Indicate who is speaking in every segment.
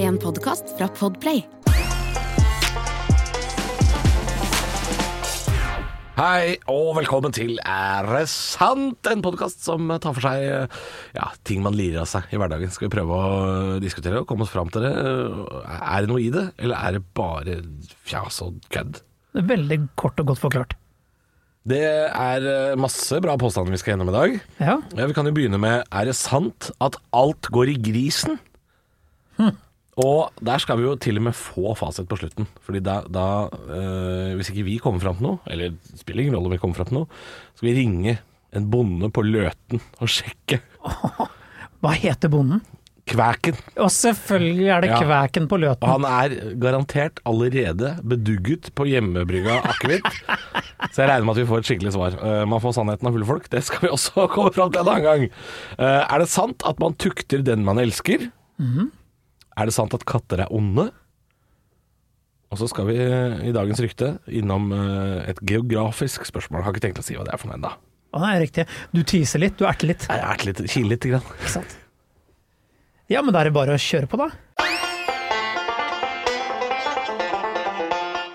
Speaker 1: en podkast fra Podplay.
Speaker 2: Hei og velkommen til Er det sant? En podkast som tar for seg eh, ja, ting man lirer av seg i hverdagen. Skal vi prøve å eh, diskutere og komme oss fram til det? Eh, Er det noe i det, eller er det bare fjas og kødd?
Speaker 3: Veldig kort og godt forklart.
Speaker 2: Det er eh, masse bra påstander vi skal gjennom i dag.
Speaker 3: Ja,
Speaker 2: Ja, vi kan jo begynne med Er det sant at alt går i grisen? Og der skal vi jo til og med få fasit på slutten. Fordi da, da eh, Hvis ikke vi kommer fram til noe, eller det spiller ingen rolle om vi kommer fram til noe, skal vi ringe en bonde på Løten og sjekke
Speaker 3: Hva heter bonden?
Speaker 2: kvæken.
Speaker 3: Og selvfølgelig er det
Speaker 2: Ja.
Speaker 3: Kvæken på
Speaker 2: Og
Speaker 3: Løten.
Speaker 2: han er garantert allerede bedugget på hjemmebrygga akevitt. Så jeg regner med at vi får et skikkelig svar. Eh, man får sannheten av fulle folk. Det skal vi også komme fram til en annen gang. Eh, er det sant at man tukter den man elsker? Mhm. Er det sant at katter er onde? Og så skal vi eh, i dagens rykte innom eh, et geografisk spørsmål. Jeg har ikke tenkt å si hva det er for noe ennå.
Speaker 3: Å, nei, riktig. Du teaser litt, du erter litt.
Speaker 2: Jeg har vært litt, kile litt. Grann.
Speaker 3: Ikke sant? Ja, men da er det bare å kjøre på, da.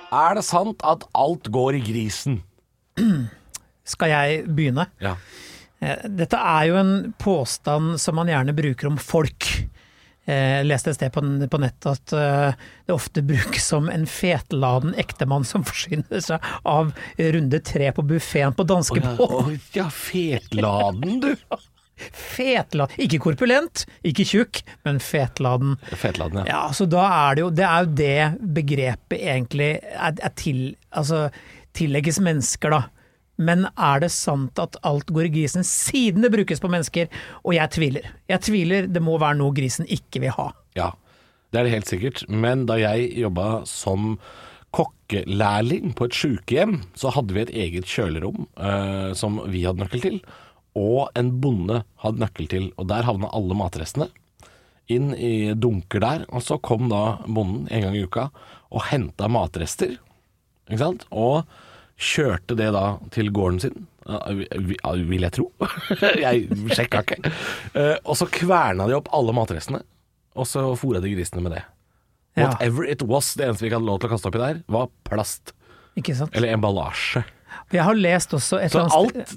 Speaker 2: Er det sant at alt går i grisen?
Speaker 3: Skal jeg begynne?
Speaker 2: Ja.
Speaker 3: Eh, Dette er jo en påstand som man gjerne bruker om folk. Eh, Jeg leste et sted på, n- på nettet at eh, det ofte brukes som en fetladen ektemann som forsyner seg av runde tre på buffeen på danskebåten.
Speaker 2: Å ja, fetladen, du.
Speaker 3: Fetladen! Ikke korpulent, ikke tjukk, men fetladen.
Speaker 2: Fetladen, ja.
Speaker 3: Ja, så da er det jo Det er jo det begrepet egentlig er, er til Altså tillegges mennesker, da. Men er det sant at alt går i grisen siden det brukes på mennesker? Og jeg tviler. Jeg tviler. Det må være noe grisen ikke vil ha.
Speaker 2: Ja, det er det helt sikkert. Men da jeg jobba som kokkelærling på et sjukehjem, så hadde vi et eget kjølerom eh, som vi hadde nøkkel til, og en bonde hadde nøkkel til. Og der havna alle matrestene inn i dunker der. Og så kom da bonden en gang i uka og henta matrester, ikke sant? Og kjørte det da til gården sin, eh, vi- ja, vil jeg tro. jeg sjekka ikke. Eh, Og så kverna de opp alle matrestene, og så fôra de grisene med det.
Speaker 3: Ja.
Speaker 2: Whatever it was, det eneste vi ikke hadde lov til å kaste oppi der, var plast.
Speaker 3: Ikke sant?
Speaker 2: Eller emballasje.
Speaker 3: Jeg har lest også et
Speaker 2: Så
Speaker 3: eller annet
Speaker 2: alt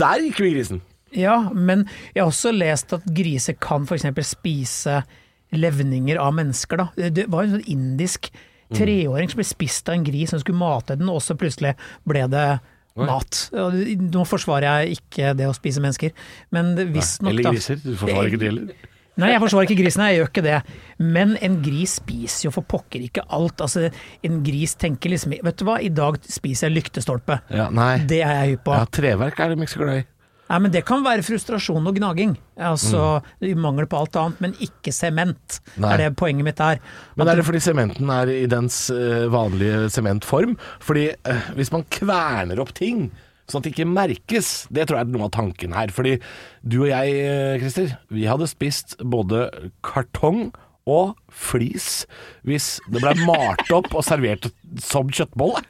Speaker 2: Der gikk vi i grisen.
Speaker 3: Ja, men jeg har også lest at griser kan f.eks. spise levninger av mennesker. Da. Det var en sånn indisk
Speaker 2: Mm.
Speaker 3: treåring som ble spist av en gris som skulle mate den, og så plutselig ble det mat. Og Nå forsvarer jeg ikke det å spise mennesker, men det- visstnok
Speaker 2: Eller
Speaker 3: da-
Speaker 2: griser. Du forsvarer ikke det heller.
Speaker 3: Nei, jeg forsvarer ikke grisen, jeg gjør ikke det. Men en gris spiser jo for pokker ikke alt. Altså, en gris tenker liksom Vet du hva, i dag spiser jeg lyktestolpe.
Speaker 2: Ja, nei.
Speaker 3: Det er jeg hypp på.
Speaker 2: Ja, treverk er det de ikke så glad i.
Speaker 3: Nei, men Det kan være frustrasjon og gnaging. Altså i Mangel på alt annet, men ikke sement. Det
Speaker 2: Mm. Nei.
Speaker 3: er det poenget mitt er.
Speaker 2: Men er det fordi sementen er i dens eh, vanlige sementform? Fordi eh, hvis man kverner opp ting sånn at det ikke merkes, det tror jeg er noe av tanken her. Fordi du og jeg, eh, Christer, vi hadde spist både kartong og flis hvis det ble malt opp og servert som kjøttbolle.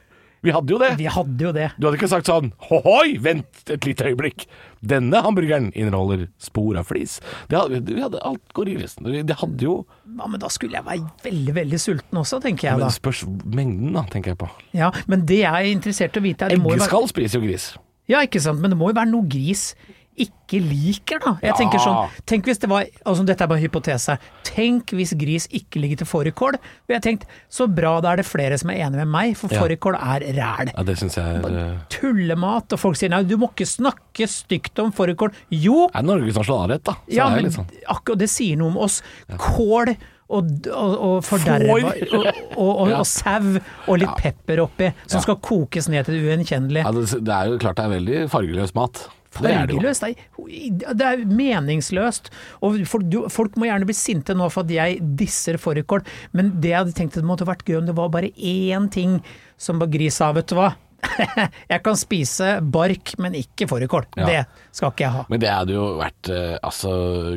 Speaker 2: Vi hadde jo det.
Speaker 3: Altså, Vi hadde jo det.
Speaker 2: Du hadde ikke sagt sånn Hohoi, vent et lite øyeblikk. Denne hamburgeren inneholder spor av flis. Det hadde, vi hadde alt går i grisen. Det hadde jo
Speaker 3: Ja, men da skulle jeg være veldig, veldig sulten også, tenker jeg
Speaker 2: Men
Speaker 3: da.
Speaker 2: det spørs mengden, da, tenker jeg på.
Speaker 3: Ja, Men det jeg er interessert i å vite er det må jo være,
Speaker 2: Eggeskall spiser jo gris.
Speaker 3: Ja, ikke sant. Men det må jo være noe gris ikke liker, da. Jeg tenker
Speaker 2: Ja.
Speaker 3: sånn Tenk hvis det var Altså, dette er bare en hypotese. Tenk hvis gris ikke ligger til fårikål. Og jeg har tenkt, så bra, da er det flere som er enig med meg, for
Speaker 2: Ja.
Speaker 3: fårikål er ræl.
Speaker 2: Ja, det syns jeg er eh,
Speaker 3: tullemat, og folk sier nei, du må ikke snakke stygt om fårikål. Jo,
Speaker 2: Er Norges nasjonalrett, da. Så
Speaker 3: ja,
Speaker 2: er jeg
Speaker 3: men
Speaker 2: litt sånn.
Speaker 3: akkurat det sier noe om oss. Kål og, og, og forderva og,
Speaker 2: Får.
Speaker 3: og, og,
Speaker 2: Ja.
Speaker 3: og sau og litt pepper oppi, som skal kokes ned til det
Speaker 2: Ja,
Speaker 3: ugjenkjennelige.
Speaker 2: det, det er jo klart det er veldig fargeløs mat. Det er det jo.
Speaker 3: Fargeløst? Nei, det er meningsløst. Og folk, du, folk må gjerne bli sinte nå for at jeg disser fårikål, men det jeg hadde tenkt det måtte vært gøy om det var bare én ting som var gris sa, vet du hva. Jeg kan spise bark, men ikke fårikål.
Speaker 2: Ja.
Speaker 3: Det skal ikke jeg ha.
Speaker 2: Men det hadde jo vært eh, altså,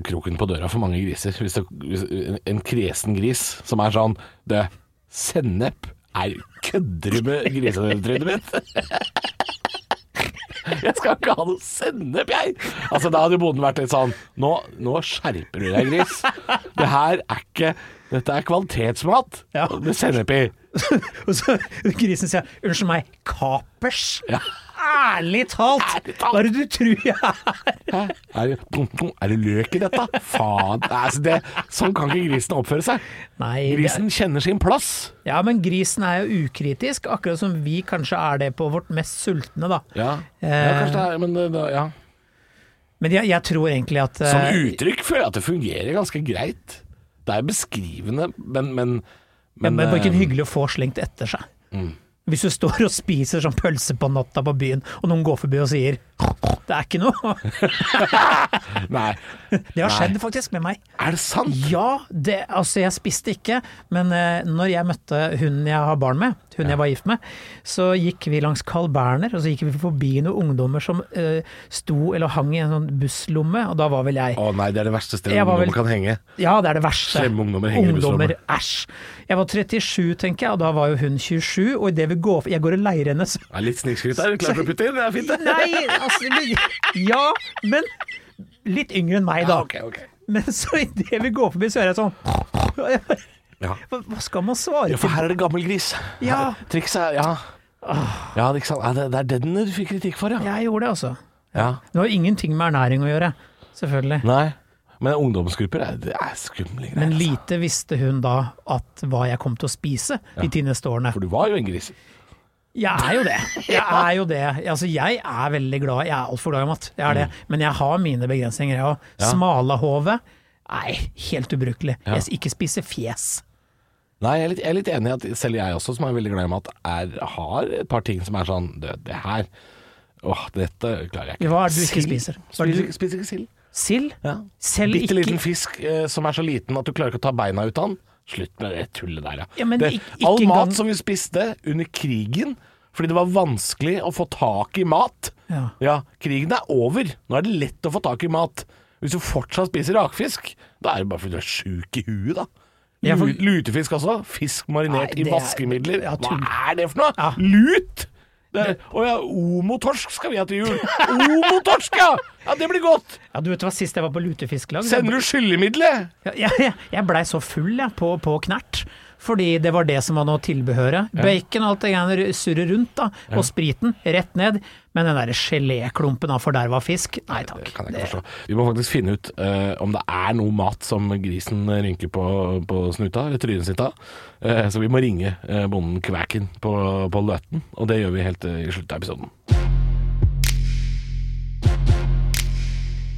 Speaker 2: kroken på døra for mange griser. Hvis det, hvis, en, en kresen gris som er sånn Det, sennep er Kødder du med grisetrynet mitt? Jeg skal ikke ha noe sennep, jeg! Altså, da hadde bonden vært litt sånn Nå, nå skjerper du deg, gris. Det her er ikke Dette er kvalitetsmat
Speaker 3: Ja.
Speaker 2: med sennep i.
Speaker 3: Og så grisen sier 'unnskyld meg, kapers'? Ærlig talt!
Speaker 2: Ærlig talt.
Speaker 3: Hva er det du tror jeg er?
Speaker 2: Hæ? Er, det- er det løk i dette? Faen. Altså, det, sånn kan ikke grisen oppføre seg.
Speaker 3: Nei, det-
Speaker 2: Grisen kjenner sin plass.
Speaker 3: Ja, men grisen er jo ukritisk, akkurat som vi kanskje er det på vårt mest sultne, da.
Speaker 2: Ja, ja
Speaker 3: Eh,
Speaker 2: kanskje det er Men det- det, ja.
Speaker 3: Men jeg, jeg tror egentlig at eh,
Speaker 2: Som uttrykk føler jeg at det fungerer ganske greit. Det er beskrivende, men Men,
Speaker 3: ja, men det er bare ikke
Speaker 2: eh, Mm.
Speaker 3: hyggelig å få slengt etter seg. Hvis du står og spiser sånn pølse på natta på byen, og noen går forbi og sier 'det er ikke noe',
Speaker 2: eh, Nei.
Speaker 3: det har
Speaker 2: Nei.
Speaker 3: skjedd faktisk med meg.
Speaker 2: Er det sant?
Speaker 3: Ja, det, altså jeg spiste ikke, men eh, når jeg møtte hun jeg har barn med, hun jeg var gift med, så gikk vi langs Carl Berner, og så gikk vi forbi noen ungdommer som eh, sto eller hang i en sånn busslomme, og da var vel jeg.
Speaker 2: Å nei, det er det verste stedet
Speaker 3: Jeg var
Speaker 2: ungdommer
Speaker 3: vel-
Speaker 2: kan henge.
Speaker 3: Ja, det er det verste.
Speaker 2: Slemme ungdommer henger i busslommer.
Speaker 3: Ungdommer, æsj. Jeg var 37, tenker jeg, og da var jo hun 27, og idet vi går for Jeg går og leier henne, så
Speaker 2: Ja, litt snikskryt der, klart å putte inn, det er fint det.
Speaker 3: Nei, altså men- Ja, men litt yngre enn meg, da.
Speaker 2: ok, ok.
Speaker 3: Men så idet vi går forbi, så hører jeg sånn
Speaker 2: Ja.
Speaker 3: Hva hva skal man svare
Speaker 2: Ja,
Speaker 3: til
Speaker 2: for her er det gammel gris.
Speaker 3: Ja.
Speaker 2: Her- Trikset er Ja. Ja, det, er ikke sant? Ja, det, det er det den du fikk kritikk for, ja.
Speaker 3: Jeg gjorde det, altså.
Speaker 2: ja.
Speaker 3: Det har ingenting med ernæring å gjøre, selvfølgelig.
Speaker 2: Nei. Men ungdomsgrupper er, det er skumle greier.
Speaker 3: Men
Speaker 2: altså.
Speaker 3: lite visste hun da at hva jeg kom til å spise de ti neste årene.
Speaker 2: For du var jo en gris.
Speaker 3: Jeg er jo det. Jeg er jo det. Altså, jeg er veldig glad. Jeg er altfor glad i mat, jeg er
Speaker 2: Mm.
Speaker 3: det. Men jeg har mine begrensninger. Jeg har smalahove. Nei, helt ubrukelig.
Speaker 2: Ja.
Speaker 3: Jeg ikke spise fjes.
Speaker 2: Nei, jeg er, litt, jeg er litt enig i at selv jeg også, som er veldig glad i mat, er, har et par ting som er sånn Det, det her Åh, dette klarer jeg ikke.
Speaker 3: Hva er det du ikke
Speaker 2: Sild.
Speaker 3: spiser? Hva er det
Speaker 2: Spiser,
Speaker 3: du-
Speaker 2: ikke- spiser ikke sild.
Speaker 3: Sild?
Speaker 2: Ja.
Speaker 3: Selv
Speaker 2: Bitte liten
Speaker 3: ikke
Speaker 2: fisk eh, som er så liten at du klarer ikke å ta beina ut av den. Slutt med det tullet der, ja.
Speaker 3: Ja, men
Speaker 2: det,
Speaker 3: ikk- ikke
Speaker 2: all
Speaker 3: engang-
Speaker 2: mat som vi spiste under krigen, fordi det var vanskelig å få tak i mat
Speaker 3: Ja.
Speaker 2: krigen er over. Nå er det lett å få tak i mat. Hvis du fortsatt spiser rakfisk, da er det bare fordi du er sjuk i huet, da.
Speaker 3: Ja, for-
Speaker 2: Lu- Lutefisk også. Fisk marinert
Speaker 3: Nei, det
Speaker 2: i
Speaker 3: er-
Speaker 2: vaskemidler.
Speaker 3: ja,
Speaker 2: Hva
Speaker 3: tull.
Speaker 2: er det for noe?
Speaker 3: Ja.
Speaker 2: Lut! Det er, å ja, omotorsk skal vi ha til jul. Omotorsk, ja! Ja, Det blir godt.
Speaker 3: Ja, du vet hva, sist jeg var på lutefisklag så-
Speaker 2: Sender du skyllemiddelet?
Speaker 3: Ja, Jeg, jeg, jeg blei så full jeg, på, på knert, fordi det var det som var noe tilbehøret. Bacon og alt det greiene surrer rundt, da, og spriten rett ned. Men den derre geléklumpen av forderva fisk, nei takk.
Speaker 2: Kan jeg
Speaker 3: Det-
Speaker 2: ikke forstå. Vi må faktisk finne ut eh, om det er noe mat som grisen rynker på, på snuta, eller trynet sitt av. Eh, så vi må ringe eh, bonden Kvæken på, på Løten, og det gjør vi helt eh, i slutten av episoden.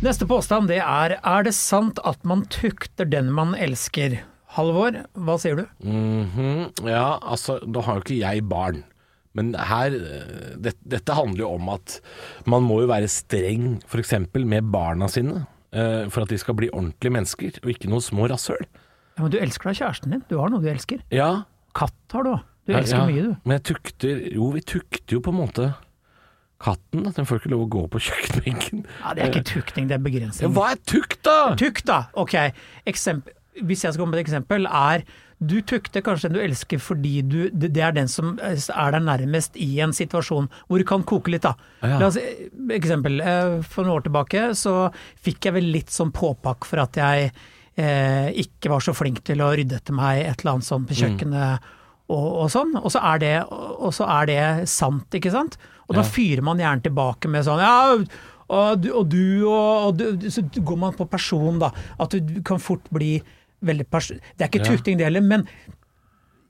Speaker 3: Neste påstand det er Er det sant at man tukter den man elsker? Halvor, hva sier du?
Speaker 2: Mhm. Ja, altså, da har jo ikke jeg barn. Men her, eh, det, dette handler jo om at man må jo være streng f.eks. med barna sine. eh, For at de skal bli ordentlige mennesker, og ikke noen små rasshøl.
Speaker 3: Ja, men du elsker da kjæresten din. Du har noe du elsker.
Speaker 2: Ja,
Speaker 3: Katt har du òg. Du elsker
Speaker 2: Ja, ja.
Speaker 3: mye, du.
Speaker 2: Men jeg tukter Jo, vi tukter jo på en måte katten. da. Den får ikke lov å gå på kjøkkenbenken.
Speaker 3: Ja, det er ikke tukting, det er
Speaker 2: Ja,
Speaker 3: begrensning.
Speaker 2: hva er tukt, da?!
Speaker 3: Tukk, da! Ok, Eksemp hvis jeg skal komme med et eksempel, er du tukter kanskje den du elsker fordi du, det det er den som er der nærmest i en situasjon hvor det kan koke litt, da.
Speaker 2: Ja.
Speaker 3: La oss, eksempel. eh, For noen år tilbake så fikk jeg vel litt sånn påpakk for at jeg eh, ikke var så flink til å rydde etter meg et eller annet sånn på kjøkkenet og, og sånn. Og så, er det, og så er det sant, ikke sant? Og da fyrer man gjerne tilbake med sånn ja, og du og, du, og, og du, Så går man på person, da. At du- du kan fort bli veldig person... Det er ikke tukting, det heller, men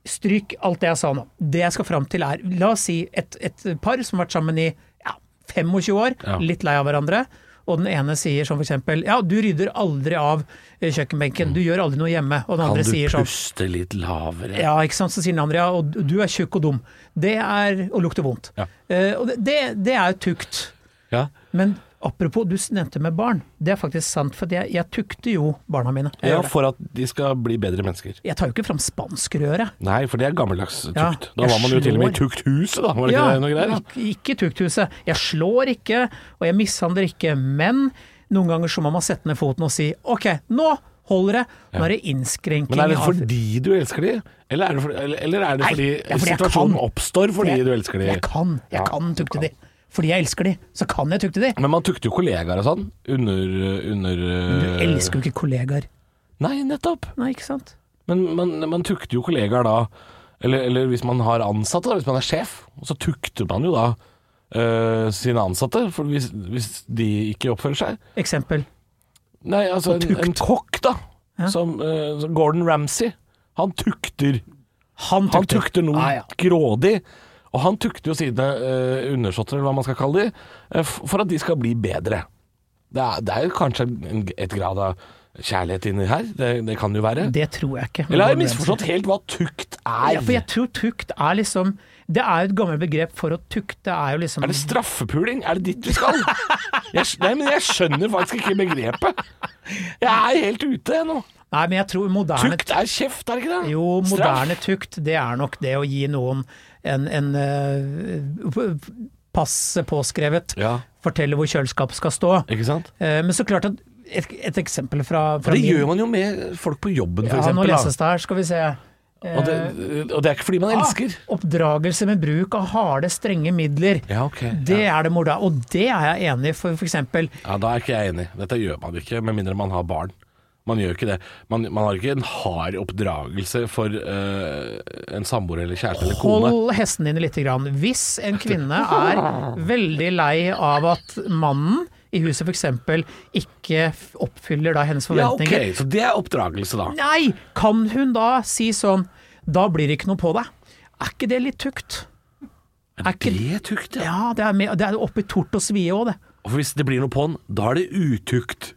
Speaker 3: stryk alt det jeg sa nå. Det jeg skal fram til er, la oss si et, et par som har vært sammen i ja, 25 år,
Speaker 2: Ja.
Speaker 3: litt lei av hverandre. Og den ene sier som for eksempel ja, du rydder aldri av eh, kjøkkenbenken, du gjør aldri noe hjemme. Og den
Speaker 2: Mm. Kan
Speaker 3: andre
Speaker 2: du
Speaker 3: sier sånn
Speaker 2: puste litt lavere?
Speaker 3: ja, ikke sant? Så sier den andre ja, og du er tjukk og dum. Det er å lukte vondt.
Speaker 2: Ja.
Speaker 3: Eh, og det- det, det er jo tukt.
Speaker 2: Ja.
Speaker 3: Men apropos, du nevnte med barn. Det er faktisk sant, for jeg, jeg tukter jo barna mine. Jeg,
Speaker 2: ja,
Speaker 3: gjør det.
Speaker 2: for at de skal bli bedre mennesker.
Speaker 3: jeg tar jo ikke fram spanskrøret.
Speaker 2: Nei, for det er gammeldags tukt.
Speaker 3: Ja,
Speaker 2: da
Speaker 3: jeg
Speaker 2: var man jo til og med i
Speaker 3: slår.
Speaker 2: tukthuset, da. Var det ikke det noe greier?
Speaker 3: ikke- Ikke tukthuset. Jeg slår ikke, og jeg mishandler ikke, men noen ganger så må man sette ned foten og si OK, nå holder det! Nå er det innskrenking
Speaker 2: Men er det
Speaker 3: av-
Speaker 2: fordi du elsker de, eller er det, for, eller, eller er det
Speaker 3: Nei,
Speaker 2: fordi,
Speaker 3: det er fordi jeg
Speaker 2: situasjonen
Speaker 3: kan.
Speaker 2: oppstår fordi
Speaker 3: Jeg-
Speaker 2: du elsker de?
Speaker 3: Jeg kan, jeg
Speaker 2: Ja,
Speaker 3: kan
Speaker 2: du
Speaker 3: tukte
Speaker 2: kan.
Speaker 3: de. fordi jeg elsker de, så kan jeg tukte de.
Speaker 2: Men man tukter jo kollegaer og sånn. Under, under
Speaker 3: Men
Speaker 2: Øh.
Speaker 3: du elsker jo ikke kollegaer.
Speaker 2: Nei, nettopp.
Speaker 3: Nei, ikke sant?
Speaker 2: Men man, man tukter jo kollegaer da eller, eller hvis man har ansatte, da, hvis man er sjef, så tukter man jo da eh, sine ansatte. For hvis, hvis de ikke oppfører seg.
Speaker 3: Eksempel.
Speaker 2: Nei, altså en, en kokk, da.
Speaker 3: Ja.
Speaker 2: Som eh, som Gordon Ramsay. Han tukter.
Speaker 3: Han tukter.
Speaker 2: Han tukter noe
Speaker 3: Ah, ja.
Speaker 2: grådig. Og han tukter jo sine eh, undersåtter, eller hva man skal kalle de, eh, f- for at de skal bli bedre. Det er, det er jo kanskje en, et grad av kjærlighet inni her. Det, det kan jo være.
Speaker 3: Det tror jeg ikke.
Speaker 2: Eller har jeg misforstått helt hva tukt er?
Speaker 3: Ja, for jeg tror tukt er liksom Det er jo et gammelt begrep for å tukte er jo liksom
Speaker 2: Er det straffepuling? Er det dit du skal? Jeg, skj- nei, men jeg skjønner faktisk ikke begrepet. Jeg er helt ute jeg, nå.
Speaker 3: Nei, men jeg tror moderne
Speaker 2: Tukt er kjeft, er det ikke det?
Speaker 3: Jo,
Speaker 2: Straff.
Speaker 3: moderne tukt, det er nok det å gi noen en, en eh, p- passe påskrevet.
Speaker 2: Ja.
Speaker 3: Fortelle hvor kjøleskapet skal stå.
Speaker 2: Ikke sant?
Speaker 3: Eh, men så klart at et, et eksempel fra, fra
Speaker 2: For det gjør man jo med folk på jobben, for
Speaker 3: Ja, nå
Speaker 2: eksempel. da.
Speaker 3: leses det her, skal vi se. Eh,
Speaker 2: Og det, og det er ikke fordi man elsker.
Speaker 3: Ah, oppdragelse med bruk av harde, strenge midler.
Speaker 2: Ja, ok.
Speaker 3: Det er det morda, og det er jeg enig i, for for eksempel
Speaker 2: Ja, Da er ikke jeg enig. Dette gjør man ikke, med mindre man har barn. Man gjør ikke det. Man, man har ikke en hard oppdragelse for eh, en samboer eller kjæreste eller kone.
Speaker 3: Hold hesten din litt. Grann. Hvis en kvinne er veldig lei av at mannen i huset f.eks. ikke f- oppfyller da hennes
Speaker 2: Ja, ok,
Speaker 3: forventninger,
Speaker 2: Så det er oppdragelse, da.
Speaker 3: nei, kan hun da si sånn Da blir det ikke noe på deg. Er ikke det litt tukt? Er ikke,
Speaker 2: Det er tukt, ja.
Speaker 3: ja, det er, med, det er oppi tort og svie òg, det.
Speaker 2: Og hvis det blir noe på den, da er det utukt.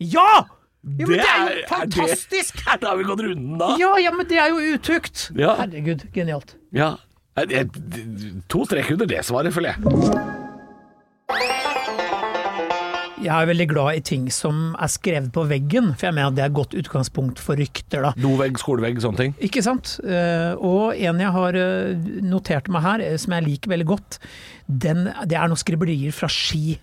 Speaker 3: Ja! Jo,
Speaker 2: Det
Speaker 3: men det er
Speaker 2: er- er
Speaker 3: jo
Speaker 2: det-
Speaker 3: fantastisk!
Speaker 2: Her, da har vi gått runden, da.
Speaker 3: Ja, ja, men det er jo utukt!
Speaker 2: Ja.
Speaker 3: Herregud, genialt.
Speaker 2: Ja. Nei, det- To strek under det svaret, føler jeg.
Speaker 3: Jeg er veldig glad i ting som er skrevet på veggen, for jeg mener at det er et godt utgangspunkt for rykter, da.
Speaker 2: Dovegg, skolevegg, sånne ting.
Speaker 3: Ikke sant? Eh, og en jeg har eh, notert meg her, eh, som jeg liker veldig godt, den, det er noen skriblerier fra Ski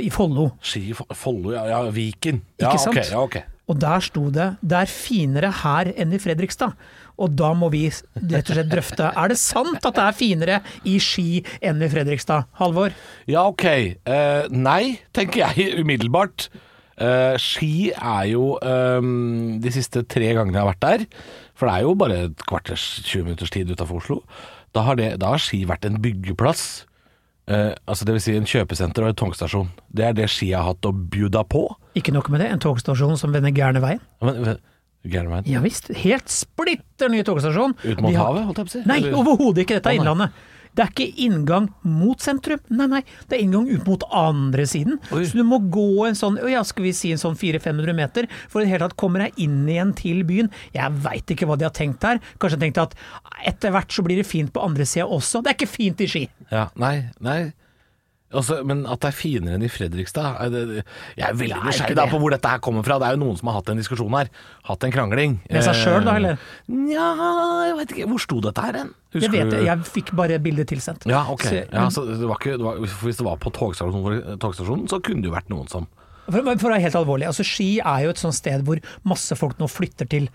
Speaker 3: i Follo.
Speaker 2: Ski, Fo- Follo, ja, ja, Viken. Ja,
Speaker 3: Ikke sant?
Speaker 2: ok, ja, ok.
Speaker 3: Og der sto det 'det er finere her enn i Fredrikstad'. Og da må vi s- rett og slett drøfte er det sant at det er finere i Ski enn i Fredrikstad. Halvor?
Speaker 2: Ja, ok. Eh, nei, tenker jeg umiddelbart. Eh, ski er jo ehm, de siste tre gangene jeg har vært der, for det er jo bare et kvarters 20 minutters tid utenfor Oslo, da har, det, da har Ski vært en byggeplass. Eh, altså det vil si en kjøpesenter og en togstasjon. Det er det Ski har hatt å bjuda på.
Speaker 3: Ikke nok med det, en togstasjon som vender gærne veien.
Speaker 2: Men, men, gæren meg.
Speaker 3: Ja visst, helt splitter ny togstasjon.
Speaker 2: Ut mot
Speaker 3: De har-
Speaker 2: havet, holdt jeg på å si.
Speaker 3: Nei,
Speaker 2: Eller-
Speaker 3: overhodet ikke. Dette
Speaker 2: Å, nei.
Speaker 3: er Innlandet. Det er ikke inngang mot sentrum, nei nei, det er inngang ut mot andre siden.
Speaker 2: Oi.
Speaker 3: Så du må gå en sånn, ja skal vi si en sånn 400-500 meter, for i det hele tatt kommer jeg inn igjen til byen. Jeg veit ikke hva de har tenkt her. Kanskje de tenkte at etter hvert så blir det fint på andre sida også. Det er ikke fint i Ski.
Speaker 2: Ja, nei, nei. Også, men at det er finere enn i Fredrikstad er det, det- Jeg er veldig
Speaker 3: Det er ikke
Speaker 2: nysgjerrig da
Speaker 3: det.
Speaker 2: på hvor dette her kommer fra. Det er jo noen som har hatt en diskusjon her. Hatt en krangling.
Speaker 3: Med seg selv da,
Speaker 2: Eh,
Speaker 3: eller?
Speaker 2: Nja, jeg veit ikke. Hvor sto dette her hen? Husker
Speaker 3: Jeg
Speaker 2: du?
Speaker 3: vet det, jeg fikk bare bildet tilsendt.
Speaker 2: Ja, ok.
Speaker 3: Så-
Speaker 2: ja, så det var ikke, det var, hvis det var på togstasjonen, togstasjonen, så kunne det jo vært noen som
Speaker 3: For, for å være helt alvorlig, altså Ski er jo et sånt sted hvor masse folk nå flytter til.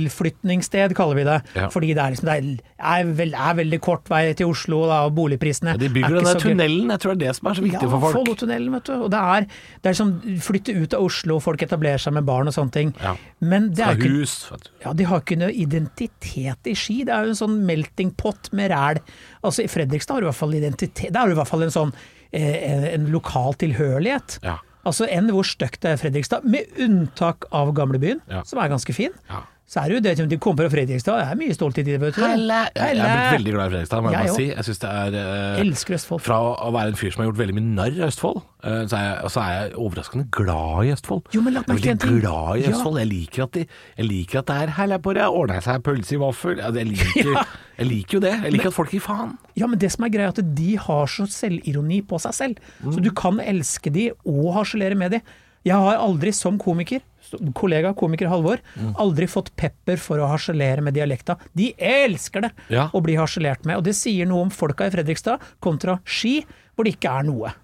Speaker 3: Tilflytningssted, kaller vi det.
Speaker 2: Ja.
Speaker 3: Fordi det er, liksom, det er, er, vel, er veldig kort vei til Oslo, da, og boligprisene
Speaker 2: De bygger den
Speaker 3: ikke
Speaker 2: der
Speaker 3: så gøy.
Speaker 2: tunnelen. Jeg tror det er det som er så viktig for folk.
Speaker 3: Follotunnelen, vet du. Og det er, det er liksom flytte ut av Oslo, folk etablerer seg med barn og sånne ting.
Speaker 2: Ja.
Speaker 3: Men det
Speaker 2: Ja,
Speaker 3: er jo ikke
Speaker 2: hus. vet du.
Speaker 3: ja, De har ikke noe identitet i Ski, det er jo en sånn melting pot med ræl. Altså I Fredrikstad har du i hvert fall identitet, der har du i hvert fall en sånn eh, en lokal tilhørighet.
Speaker 2: Ja.
Speaker 3: Altså enn hvor stygt det er i Fredrikstad, med unntak av gamlebyen,
Speaker 2: Ja.
Speaker 3: som er ganske fin.
Speaker 2: Ja.
Speaker 3: Så er det jo det de kommer fra Fredrikstad, det er mye stolthet i det, vet du.
Speaker 2: Helle. Jeg, jeg er
Speaker 3: Helle.
Speaker 2: blitt veldig glad i Fredrikstad, må jeg
Speaker 3: Jeg
Speaker 2: bare
Speaker 3: òg.
Speaker 2: si. Jeg synes det er eh,
Speaker 3: Elsker Østfold.
Speaker 2: Fra å være en fyr som har gjort veldig mye narr av Østfold, eh, så er jeg, så er jeg overraskende glad i Østfold.
Speaker 3: Jo, men la
Speaker 2: jeg er
Speaker 3: meg si en ting.
Speaker 2: veldig glad i
Speaker 3: Ja.
Speaker 2: Østfold. Jeg, liker at de, jeg liker at det er Her er på det, ordna seg pølse i vaffel. Ja, det- Jeg liker,
Speaker 3: Ja.
Speaker 2: jeg liker jo det. Jeg liker at folk gir faen.
Speaker 3: Ja, men det som er greia er at de har så selvironi på seg selv. Så du kan elske de og harselere med de. Jeg har aldri som komiker, som kollega komiker Halvor, aldri fått pepper for å harselere med dialekta. De elsker det
Speaker 2: Ja.
Speaker 3: å bli harselert med. Og det sier noe om folka i Fredrikstad kontra Ski, hvor det ikke er noe.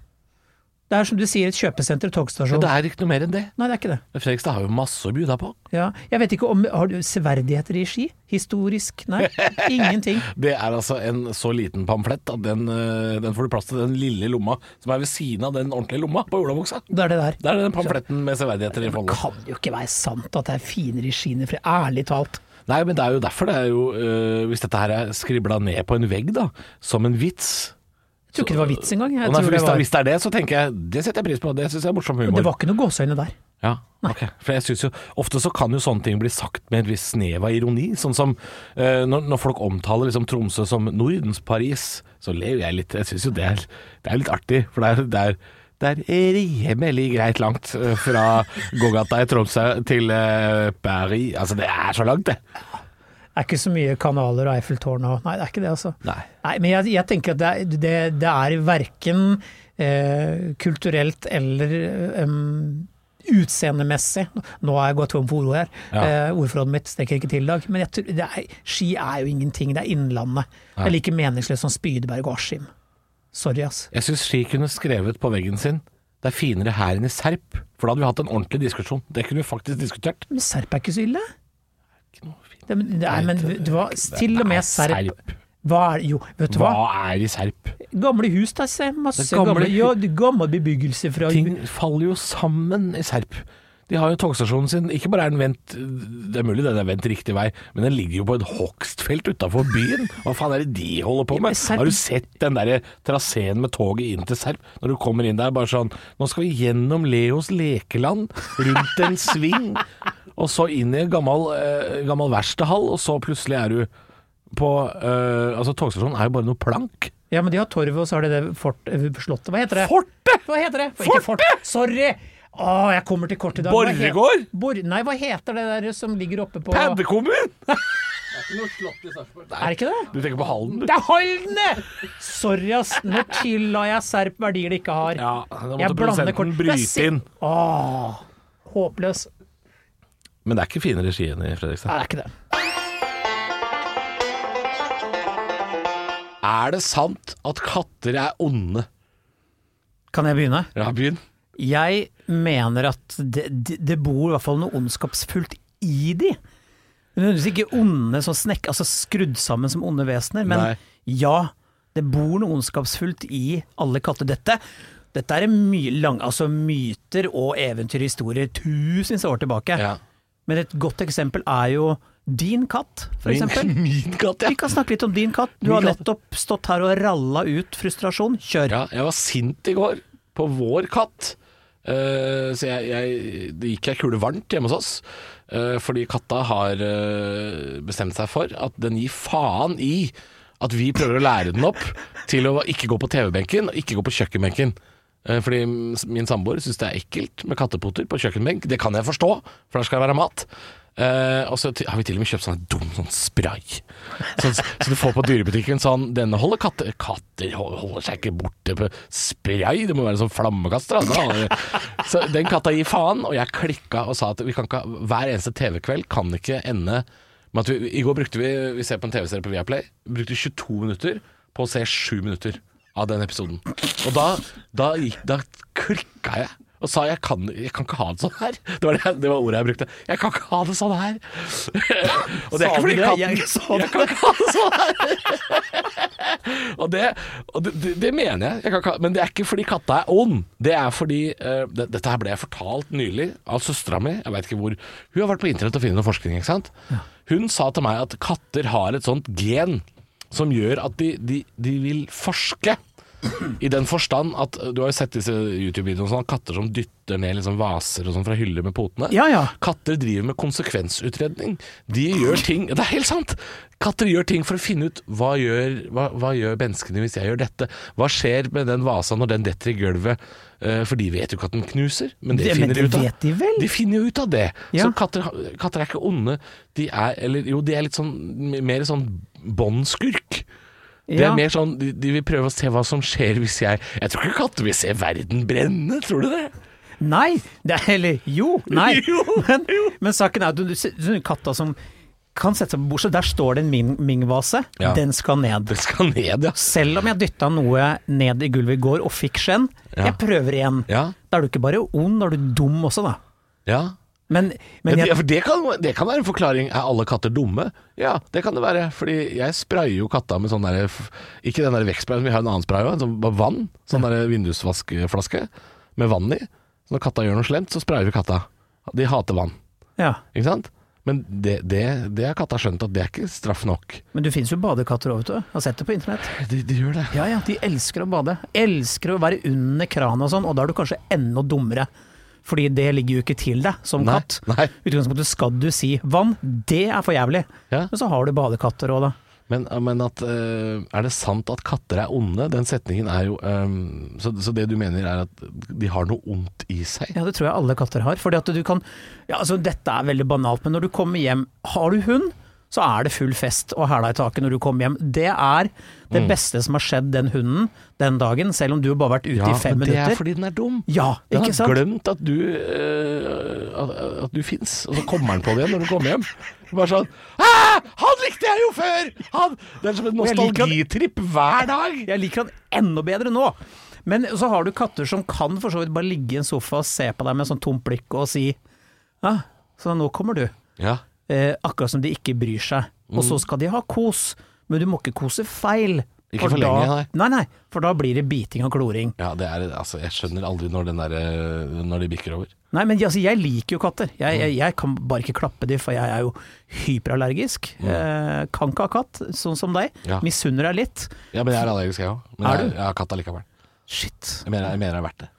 Speaker 3: Det er som du sier, et kjøpesenter og togstasjon.
Speaker 2: Det er ikke noe mer enn det.
Speaker 3: Nei, det er ikke det.
Speaker 2: Men Fredrikstad har jo masse å by deg på.
Speaker 3: Ja. Jeg vet ikke om Har du severdigheter i ski? Historisk? Nei. Ingenting.
Speaker 2: Det er altså en så liten pamflett at den, eh, den får du plass til den lille lomma som er ved siden av den ordentlige lomma på olabuksa.
Speaker 3: Det er det der.
Speaker 2: Der er den pamfletten med severdigheter i
Speaker 3: Det
Speaker 2: folden.
Speaker 3: kan jo ikke være sant at det er finere i skiene, for ærlig talt.
Speaker 2: Nei, men det er jo derfor det er jo eh, Hvis dette her er skribla ned på en vegg, da, som en vits
Speaker 3: Jeg tror ikke det var vits engang. Jeg
Speaker 2: Og nei,
Speaker 3: tror
Speaker 2: for
Speaker 3: det,
Speaker 2: hvis, det,
Speaker 3: var,
Speaker 2: hvis det er det, så tenker jeg Det setter jeg pris på, det syns jeg er morsom humor.
Speaker 3: det var ikke noe gåseøyne der.
Speaker 2: Ja, ok. For jeg synes jo Ofte så kan jo sånne ting bli sagt med et visst snev av ironi. Sånn som eh, når, når folk omtaler liksom Tromsø som Nordens Paris, så ler jo jeg litt. Jeg syns jo det er, det er litt artig, for det er, det er det er rimelig greit langt eh, fra gågata i Tromsø til eh, Paris. Altså, det er så langt, det.
Speaker 3: Det er ikke så mye kanaler og Eiffeltårn og Nei, det er ikke det, altså.
Speaker 2: Nei.
Speaker 3: men jeg, jeg tenker at det er, det, det er verken eh, kulturelt eller eh, em, utseendemessig Nå har jeg gått tom for ord her.
Speaker 2: Ja.
Speaker 3: Eh, ordforrådet mitt strekker ikke til i dag. Men jeg, tror- det er, ski er jo ingenting. Det er innlandet. Det er like meningsløst som Spydeberg og Askim. Sorry, ass.
Speaker 2: Jeg syns Ski kunne skrevet på veggen sin 'Det er finere her enn i Serp', for da hadde vi hatt en ordentlig diskusjon. Det kunne vi faktisk diskutert.
Speaker 3: Men Serp er ikke så ille.
Speaker 2: Ikke noe fint.
Speaker 3: Det, men- det er, men det var til og
Speaker 2: Nei,
Speaker 3: med Serp Hva er Jo, vet du
Speaker 2: Hva
Speaker 3: hva?
Speaker 2: er i Serp?
Speaker 3: Gamle hus, da. Se, masse
Speaker 2: Det er gamle
Speaker 3: gamle,
Speaker 2: hu-
Speaker 3: ja, det er gammel bebyggelse fra
Speaker 2: Ting faller jo sammen i Serp. De har jo togstasjonen sin Ikke bare er den vendt Det er mulig den er vendt riktig vei, men den ligger jo på et hogstfelt utafor byen. Hva faen er det de holder på med?
Speaker 3: Serp-
Speaker 2: Har du sett den derre traseen med toget inn til Serp? Når du kommer inn der bare sånn Nå skal vi gjennom Leos lekeland, rundt en sving, og så inn i en gammel, eh, gammel verkstedhall, og så plutselig er du på eh, Altså, togstasjonen er jo bare noe plank.
Speaker 3: Ja, men de har torvet, og så har de det fort, eh, slottet. Hva heter det?
Speaker 2: Fortet!
Speaker 3: Hva heter det?
Speaker 2: Fortet!
Speaker 3: Ikke fort. Sorry! Å, jeg kommer til kort i dag. Hva he-
Speaker 2: Borregaard?
Speaker 3: Bor nei, hva heter det der som ligger oppe på
Speaker 2: Paddekommun!
Speaker 3: Er det ikke det?
Speaker 2: Du tenker på Halden, du.
Speaker 3: Det er Holdene! Sorry, ass. Nå tilla jeg Serp verdier de ikke har.
Speaker 2: Ja, da
Speaker 3: Jeg
Speaker 2: måtte
Speaker 3: blander
Speaker 2: produsenten
Speaker 3: kort. Jeg
Speaker 2: bryte
Speaker 3: ser-
Speaker 2: inn.
Speaker 3: Åh, Ah, håpløs. Nei,
Speaker 2: Men det er ikke finere ski enn i Fredrikstad.
Speaker 3: det er ikke det.
Speaker 2: Er det sant at katter er onde?
Speaker 3: Kan jeg begynne?
Speaker 2: Ja, begynn.
Speaker 3: Jeg mener at det, det, det bor i hvert fall noe ondskapsfullt i de. Men Nødvendigvis ikke onde som snekk, altså skrudd sammen som onde vesener, men
Speaker 2: Nei.
Speaker 3: ja, det bor noe ondskapsfullt i alle katter. Dette, dette er mye lang, altså myter og eventyrhistorier tusenvis av år tilbake.
Speaker 2: Ja.
Speaker 3: Men et godt eksempel er jo din katt, for eksempel.
Speaker 2: Min, min katt, ja.
Speaker 3: Vi kan snakke litt om din katt. Du
Speaker 2: Min
Speaker 3: har
Speaker 2: katt.
Speaker 3: nettopp stått her og ralla ut frustrasjon. Kjør.
Speaker 2: ja. Jeg var sint i går på vår katt. Eh, så jeg, jeg, det gikk ei kule varmt hjemme hos oss. eh, fordi katta har eh, bestemt seg for at den gir faen i at vi prøver å lære den opp til å ikke gå på TV-benken og ikke gå på kjøkkenbenken. Eh, fordi min samboer syns det er ekkelt med kattepoter på kjøkkenbenk. Det kan jeg forstå, for der skal det være mat. Eh, og så til- har vi til og med kjøpt sånn dum sånn spray. Sånn, så du får på dyrebutikken sånn Denne holder katter Katter hol- holder seg ikke borte på spray, det må være sånn flammekaster. Altså. Da har- Så den katta gir faen, og jeg klikka og sa at vi kan ikke, ha- hver eneste TV-kveld kan ikke ende med at vi I går brukte vi Vi ser på en TV-serie på Viaplay. Vi brukte 22 minutter på å se 7 minutter av den episoden. Og da, da, gikk- da klikka jeg og sa jeg kan, jeg kan ikke ha det sånn her. Det var, det, det var ordet jeg brukte. Jeg kan ikke ha det sånn her. Og det er
Speaker 3: Sa
Speaker 2: ikke
Speaker 3: du
Speaker 2: fordi
Speaker 3: det?
Speaker 2: katten
Speaker 3: Jeg sa
Speaker 2: Jeg kan ikke ha det sånn her. Og det, og det, det, det mener jeg. jeg kan, ikke ha- men det er ikke fordi katta er ond. Det er fordi eh, det, Dette her ble jeg fortalt nylig av søstera mi. Jeg vet ikke hvor Hun har vært på internett og funnet noe forskning. ikke sant? Hun sa til meg at katter har et sånt gen som gjør at de, de, de vil forske. I den forstand at eh, du har jo sett disse YouTube-videoene sånn, katter som dytter ned liksom vaser og sånn fra hyller med potene.
Speaker 3: Ja, ja.
Speaker 2: Katter driver med konsekvensutredning. De gjør ting Det er helt sant! Katter gjør ting for å finne ut hva gjør, hva, hva gjør menneskene hvis jeg gjør dette? Hva skjer med den vasa når den detter i gulvet? Eh, For de vet jo ikke at den knuser, men det,
Speaker 3: Det- men
Speaker 2: finner
Speaker 3: det
Speaker 2: de ut av.
Speaker 3: vet de vel?
Speaker 2: finner jo ut av det.
Speaker 3: Ja.
Speaker 2: Så katter, katter er ikke onde. De er, eller jo, de er litt sånn mer sånn båndskurk. Det er
Speaker 3: Ja.
Speaker 2: mer sånn, de, de vil prøve å se hva som skjer hvis jeg Jeg tror ikke katter vil se verden brenne, tror du det?
Speaker 3: Nei, det er, eller jo, nei.
Speaker 2: Jo,
Speaker 3: men, men saken er at du, du, du katta som kan sette seg på bordet, så der står det en Ming- Ming-vase.
Speaker 2: Ja.
Speaker 3: Den skal ned.
Speaker 2: Det skal ned, ja.
Speaker 3: Selv om jeg dytta noe ned i gulvet i går og fikk skjenn,
Speaker 2: Ja.
Speaker 3: jeg prøver igjen.
Speaker 2: Ja.
Speaker 3: Da er du ikke bare ond, da er du dum også, da.
Speaker 2: ja.
Speaker 3: Men, men
Speaker 2: ja,
Speaker 3: jeg,
Speaker 2: for det kan, det kan være en forklaring. Er alle katter dumme? Ja, det kan det være. Fordi jeg sprayer jo katta med sånn derre f- Ikke den der vekstsprayen, vi har en annen spray òg, sånn bare vann. Sånn derre vindusvaskflaske med vann i. Så når katta gjør noe slemt, så sprayer vi katta. De hater vann,
Speaker 3: ja.
Speaker 2: ikke sant? Men det, det, det har katta skjønt, at det er ikke straff nok.
Speaker 3: men du finnes jo badekatter òg, vet du. Jeg har sett det på internett.
Speaker 2: De, de gjør det.
Speaker 3: Ja ja, de elsker å bade. Elsker å være under kranen og sånn, og da er du kanskje enda dummere. Fordi det ligger jo ikke til deg som
Speaker 2: Nei,
Speaker 3: katt.
Speaker 2: nei.
Speaker 3: I utgangspunktet skal du si 'vann', det er for jævlig.
Speaker 2: Ja.
Speaker 3: Men så har du badekatter òg, da.
Speaker 2: Men, men at eh, Er det sant at katter er onde? Den setningen er jo eh, så, så det du mener er at de har noe ondt i seg?
Speaker 3: Ja, det tror jeg alle katter har. Fordi at du kan ja, altså, Dette er veldig banalt, men når du kommer hjem Har du hund, så er det full fest og hæla i taket når du kommer hjem. Det er det
Speaker 2: Mm.
Speaker 3: beste som har skjedd den hunden den dagen, selv om du bare har vært ute i fem
Speaker 2: men det
Speaker 3: minutter.
Speaker 2: er fordi den er dum.
Speaker 3: Ja,
Speaker 2: Den
Speaker 3: ikke
Speaker 2: har
Speaker 3: sant?
Speaker 2: glemt at du eh, at, at du fins, og så kommer den på det igjen når du kommer hjem. Bare sånn «Ah, Han likte jeg jo før! Han, det er som en
Speaker 3: Og jeg liker han-
Speaker 2: nostalgitripp hver dag.
Speaker 3: Jeg liker han enda bedre nå. Men så har du katter som kan for så vidt bare ligge i en sofa og se på deg med sånn tomt blikk og si Ja, så nå kommer du.
Speaker 2: Ja.
Speaker 3: Eh, akkurat som de ikke bryr seg. Og
Speaker 2: Mm.
Speaker 3: så skal de ha kos, men du må ikke kose feil.
Speaker 2: Ikke for lenge,
Speaker 3: da, nei. nei. For da blir det biting og kloring.
Speaker 2: ja, det er Altså, jeg skjønner aldri når den der eh, Når de bikker over.
Speaker 3: Nei, men altså, jeg liker jo katter. Jeg, jeg, jeg kan bare ikke klappe de, for jeg er jo hyperallergisk. Eh, kan ikke ha katt, sånn som deg.
Speaker 2: Mm. Ja.
Speaker 3: Misunner deg litt.
Speaker 2: Ja, men jeg er allergisk, jeg òg. Men
Speaker 3: Er
Speaker 2: jeg,
Speaker 3: du?
Speaker 2: jeg har katt allikevel.
Speaker 3: Shit.
Speaker 2: Jeg mener, jeg mener det er verdt det.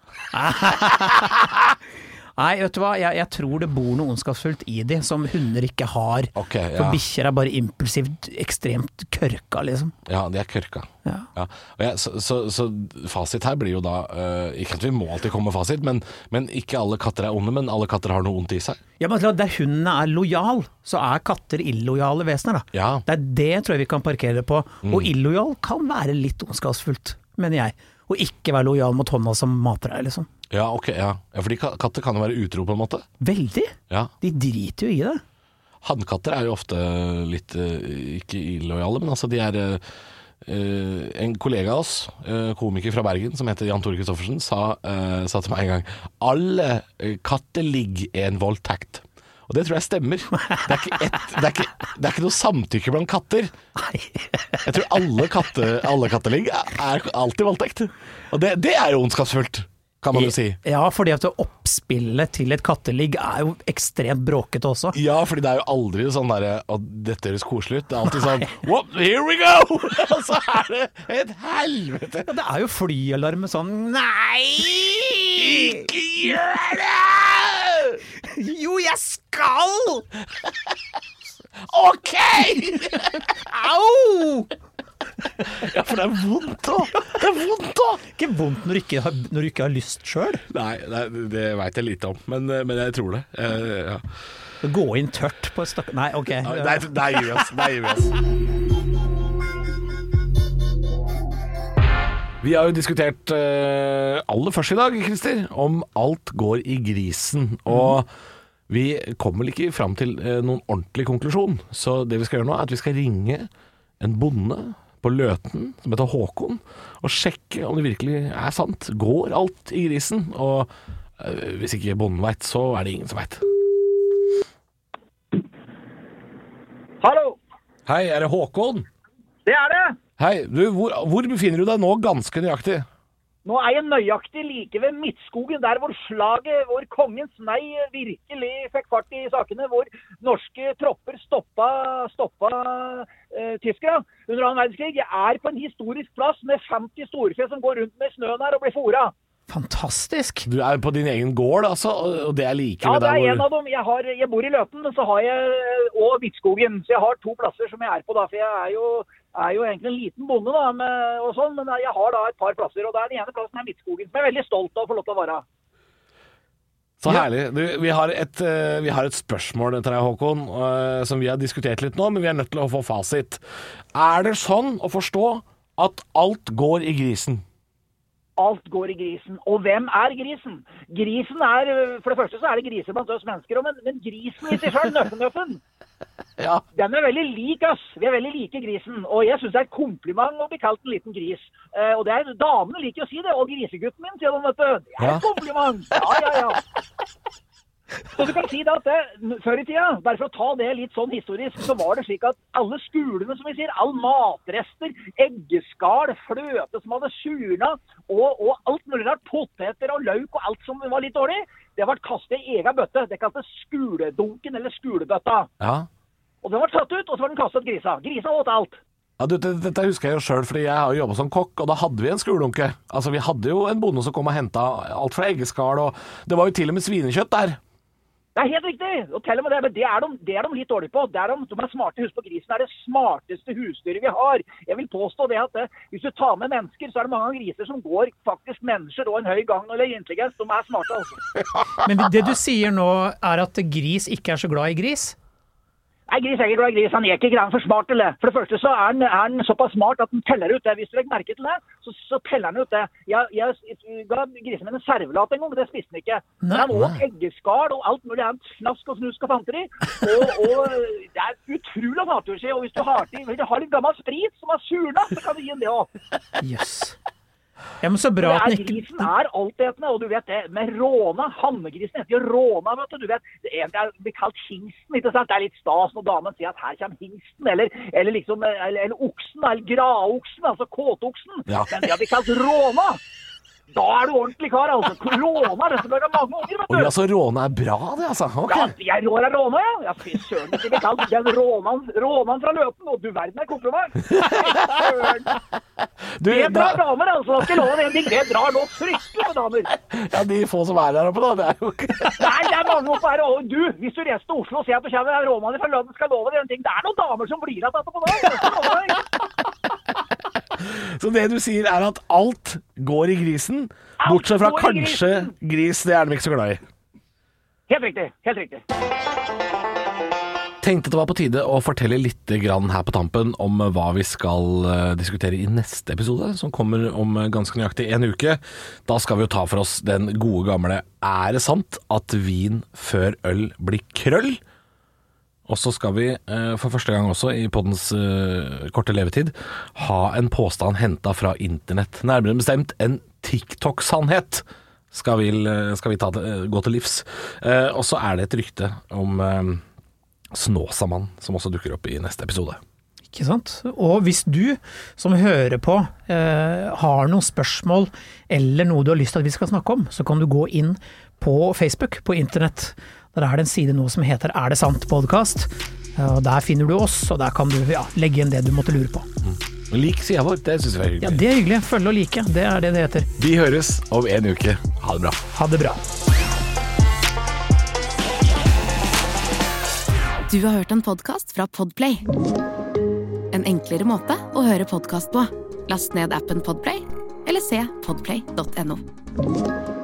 Speaker 3: Nei, vet du hva. Jeg, jeg tror det bor noe ondskapsfullt i de, som hunder ikke har.
Speaker 2: Ok,
Speaker 3: For
Speaker 2: ja.
Speaker 3: bikkjer er bare impulsivt ekstremt kørka, liksom.
Speaker 2: Ja, de er kørka.
Speaker 3: Ja.
Speaker 2: Ja. Og jeg, så, så, så fasit her blir jo da eh, Ikke at vi må alltid komme med fasit, men, men ikke alle katter er onde, men alle katter har noe ondt i seg.
Speaker 3: Ja, men altså, Der hundene er lojal, så er katter illojale vesener. da.
Speaker 2: Ja.
Speaker 3: Det er det tror jeg vi kan parkere det på.
Speaker 2: Mm.
Speaker 3: Og illojal kan være litt ondskapsfullt, mener jeg. Og ikke være lojal mot hånda som mater deg, liksom.
Speaker 2: Ja, ok, ja. ja fordi ka- katter kan jo være utro på en måte.
Speaker 3: Veldig!
Speaker 2: Ja.
Speaker 3: De driter jo i det.
Speaker 2: Hannkatter er jo ofte litt eh, ikke illojale, men altså de er eh, eh, En kollega av oss, eh, komiker fra Bergen som heter Jan Tore Christoffersen, sa, eh, sa til meg en gang Alle eh, katter ligger i en voldtekt. Og det tror jeg stemmer. Det er ikke, ett- det er ikke, det er ikke noe samtykke blant katter.
Speaker 3: Nei.
Speaker 2: Jeg tror alle, katte, alle katteligg er alltid voldtekt. Og det, det er jo ondskapsfullt, kan man jo si.
Speaker 3: Ja, fordi at oppspillet til et katteligg er jo ekstremt bråkete også.
Speaker 2: Ja, fordi det er jo aldri sånn derre at dette høres koselig ut. Det er alltid sånn Whoop, here we go! Og så er det et helvete.
Speaker 3: Ja, det er jo flyalarm med sånn Nei!
Speaker 2: Ikke gjør det!
Speaker 3: Jo, jeg skal!
Speaker 2: OK!
Speaker 3: Au!
Speaker 2: Ja, for det er vondt òg. Det er vondt òg.
Speaker 3: Ikke vondt når du ikke har, når du ikke har lyst sjøl.
Speaker 2: Nei, nei, det veit jeg lite om, men, men jeg tror det. Eh, ja.
Speaker 3: Gå inn tørt på et stakk... Nei, ok.
Speaker 2: Nei, der gir vi oss. Der gir vi oss. Vi har jo diskutert eh, aller først i dag, Christer, om alt går i grisen. Og vi kommer vel ikke fram til eh, noen ordentlig konklusjon. Så det vi skal gjøre nå, er at vi skal ringe en bonde på Løten som heter Håkon, og sjekke om det virkelig er sant. Går alt i grisen? Og eh, hvis ikke bonden veit, så er det ingen som veit.
Speaker 4: Hallo!
Speaker 2: Hei, er det Håkon?
Speaker 4: Det er det!
Speaker 2: Hei, du, hvor, hvor befinner du deg nå ganske nøyaktig?
Speaker 4: Nå er jeg nøyaktig like ved Midtskogen, der hvor slaget, hvor kongens nei virkelig fikk fart i sakene, hvor norske tropper stoppa, stoppa eh, tyskere under annen verdenskrig. Jeg er på en historisk plass med 50 storfe som går rundt med snøen her og blir fôra.
Speaker 3: Fantastisk!
Speaker 2: Du er på din egen gård, altså, og- og det er like
Speaker 4: Ja,
Speaker 2: ved
Speaker 4: det
Speaker 2: der
Speaker 4: er en
Speaker 2: hvor
Speaker 4: av dem. Jeg, har, jeg bor i Løten, men så har jeg eh, og Midtskogen. Så jeg har to plasser som jeg er på da. For jeg er jo, er jo egentlig en liten bonde, da, med, og sånn, men jeg har da et par plasser. Og det er den ene plassen er Midtskogen, som jeg er veldig stolt av å få lov til å være.
Speaker 2: Så herlig. Du, vi, har et, eh, vi har et spørsmål til deg, Håkon, eh, som vi har diskutert litt nå, men vi er nødt til å få fasit. Er det sånn å forstå at alt går i grisen?
Speaker 4: Alt går i grisen. Og hvem er grisen? Grisen er, For det første så er det griser blant oss mennesker, og men, men grisen i seg sjøl, nøffen-nøffen,
Speaker 2: Ja.
Speaker 4: Den er veldig lik oss. Vi er veldig like grisen. Og jeg syns det er et kompliment å bli kalt en liten gris. Eh, og det er, damene liker å si det. Og grisegutten min, sier de, vet du. Det er
Speaker 2: Ja.
Speaker 4: et kompliment. Ja, ja, ja. Så du kan si det at det, Før i tida, bare for å ta det litt sånn historisk, så var det slik at alle skulene, som vi sier, all matrester, eggeskall, fløte som hadde surna, og, og alt mulig rart, poteter og løk og alt som var litt dårlig, det ble kastet i egen bøtte. Det kaltes skuledunken eller skulebøtta.
Speaker 2: Ja.
Speaker 4: Og den var tatt ut, og så var den kastet grisa. Grisa åt alt.
Speaker 2: Ja, du, det- Dette husker jeg jo sjøl, fordi jeg har jo jobba som kokk, og da hadde vi en skulunke. Altså, Vi hadde jo en bonde som kom og henta alt fra eggeskall, og det var jo til og med svinekjøtt der.
Speaker 4: Det er helt riktig! Og til og med det, men det er de, det er de litt dårlige på. Det er de, de er smarte. Husk på, grisen er det smarteste husdyret vi har. Jeg vil påstå det at eh, hvis du tar med mennesker, så er det mange ganger griser som går faktisk mennesker og en høy gang eller intelligens. De er smarte, altså.
Speaker 3: Men det du sier nå er at gris ikke er så glad i gris?
Speaker 4: Nei, gris er ikke glad i gris. Han er ikke grann for smart, eller? For det første så er han, er han såpass smart at han teller ut det. Hvis du legger merke til det, så, så teller han ut det. Jeg, jeg ga grisen min en servelat en gang, men det spiste han ikke. Men han åt eggeskall og alt mulig annet snask og snusk og fanteri. Og, og det er utrolig naturlig. Og hvis du har, til, hvis du har litt gammel sprit som er surna, så kan du gi den det òg.
Speaker 3: Jøss. Ja, men så bra at den ikke
Speaker 4: Grisen er altetende, og du vet det med råna. Hannegrisen heter jo råna, vet du. du vet, det er- det blir kalt hingsten, ikke sant. Det er litt stas når damen sier at her kommer hingsten, eller, eller liksom eller, eller oksen, eller graoksen, altså kåtoksen.
Speaker 2: Ja.
Speaker 4: Men det har blitt kalt råna. Da er du ordentlig kar, altså. Råna er det som lager mange unger, vet
Speaker 2: Og
Speaker 4: du.
Speaker 2: ja, så råne er bra, det, altså. Ok.
Speaker 4: Ja, jeg rår er råna, ja. Ja, fy søren. det er ikke sant. Den rånaen rånaen fra Løten, og du verden er kompliment.
Speaker 2: Du,
Speaker 4: Det drar
Speaker 2: da,
Speaker 4: damer, altså. Jeg skal love deg en ting. Det drar nå fryktelig med damer.
Speaker 2: ja, de få som er der oppe, da. Det er jo ikke
Speaker 4: Nei, det er mange oppe her. Og du, hvis du reiser til Oslo og ser at du kommer en råmann fra Løten, skal jeg love deg en ting. Det er noen damer som blir igjen etterpå. da. Jeg skal love deg.
Speaker 2: Så det du sier er at alt går i grisen, bortsett fra
Speaker 4: går i
Speaker 2: kanskje gris. Det er de ikke så glad i.
Speaker 4: Helt riktig. Helt riktig.
Speaker 2: Tenkte det var på tide å fortelle litt grann her på tampen om hva vi skal eh, diskutere i neste episode, som kommer om eh, ganske nøyaktig en uke. Da skal vi jo ta for oss den gode gamle Er det sant at vin før øl blir krøll? Og så skal vi, eh, for første gang også i poddens eh, korte levetid, ha en påstand henta fra internett. Nærmere bestemt en TikTok-sannhet skal vi, skal vi ta, det- gå til livs. Eh, Og så er det et rykte om eh, Snåsamann, som også dukker opp i neste episode.
Speaker 3: Ikke sant? Og hvis du som hører på eh, har noen spørsmål eller noe du har lyst til at vi skal snakke om, så kan du gå inn på Facebook, på internett. Der er det en side nå som heter Er det sant? podkast. Og Der finner du oss, og der kan du ja, legge inn det du måtte lure på.
Speaker 2: Lik sida vår, det syns vi er
Speaker 3: Ja,
Speaker 2: hyggelig.
Speaker 3: Det er hyggelig. Følge og like. Det er det det heter.
Speaker 2: Vi høres om en uke. Ha det bra.
Speaker 3: Ha det bra.
Speaker 5: Du har hørt en podcast fra Podplay En enklere måte å høre podcast på Last ned appen Podplay Eller se podplay.no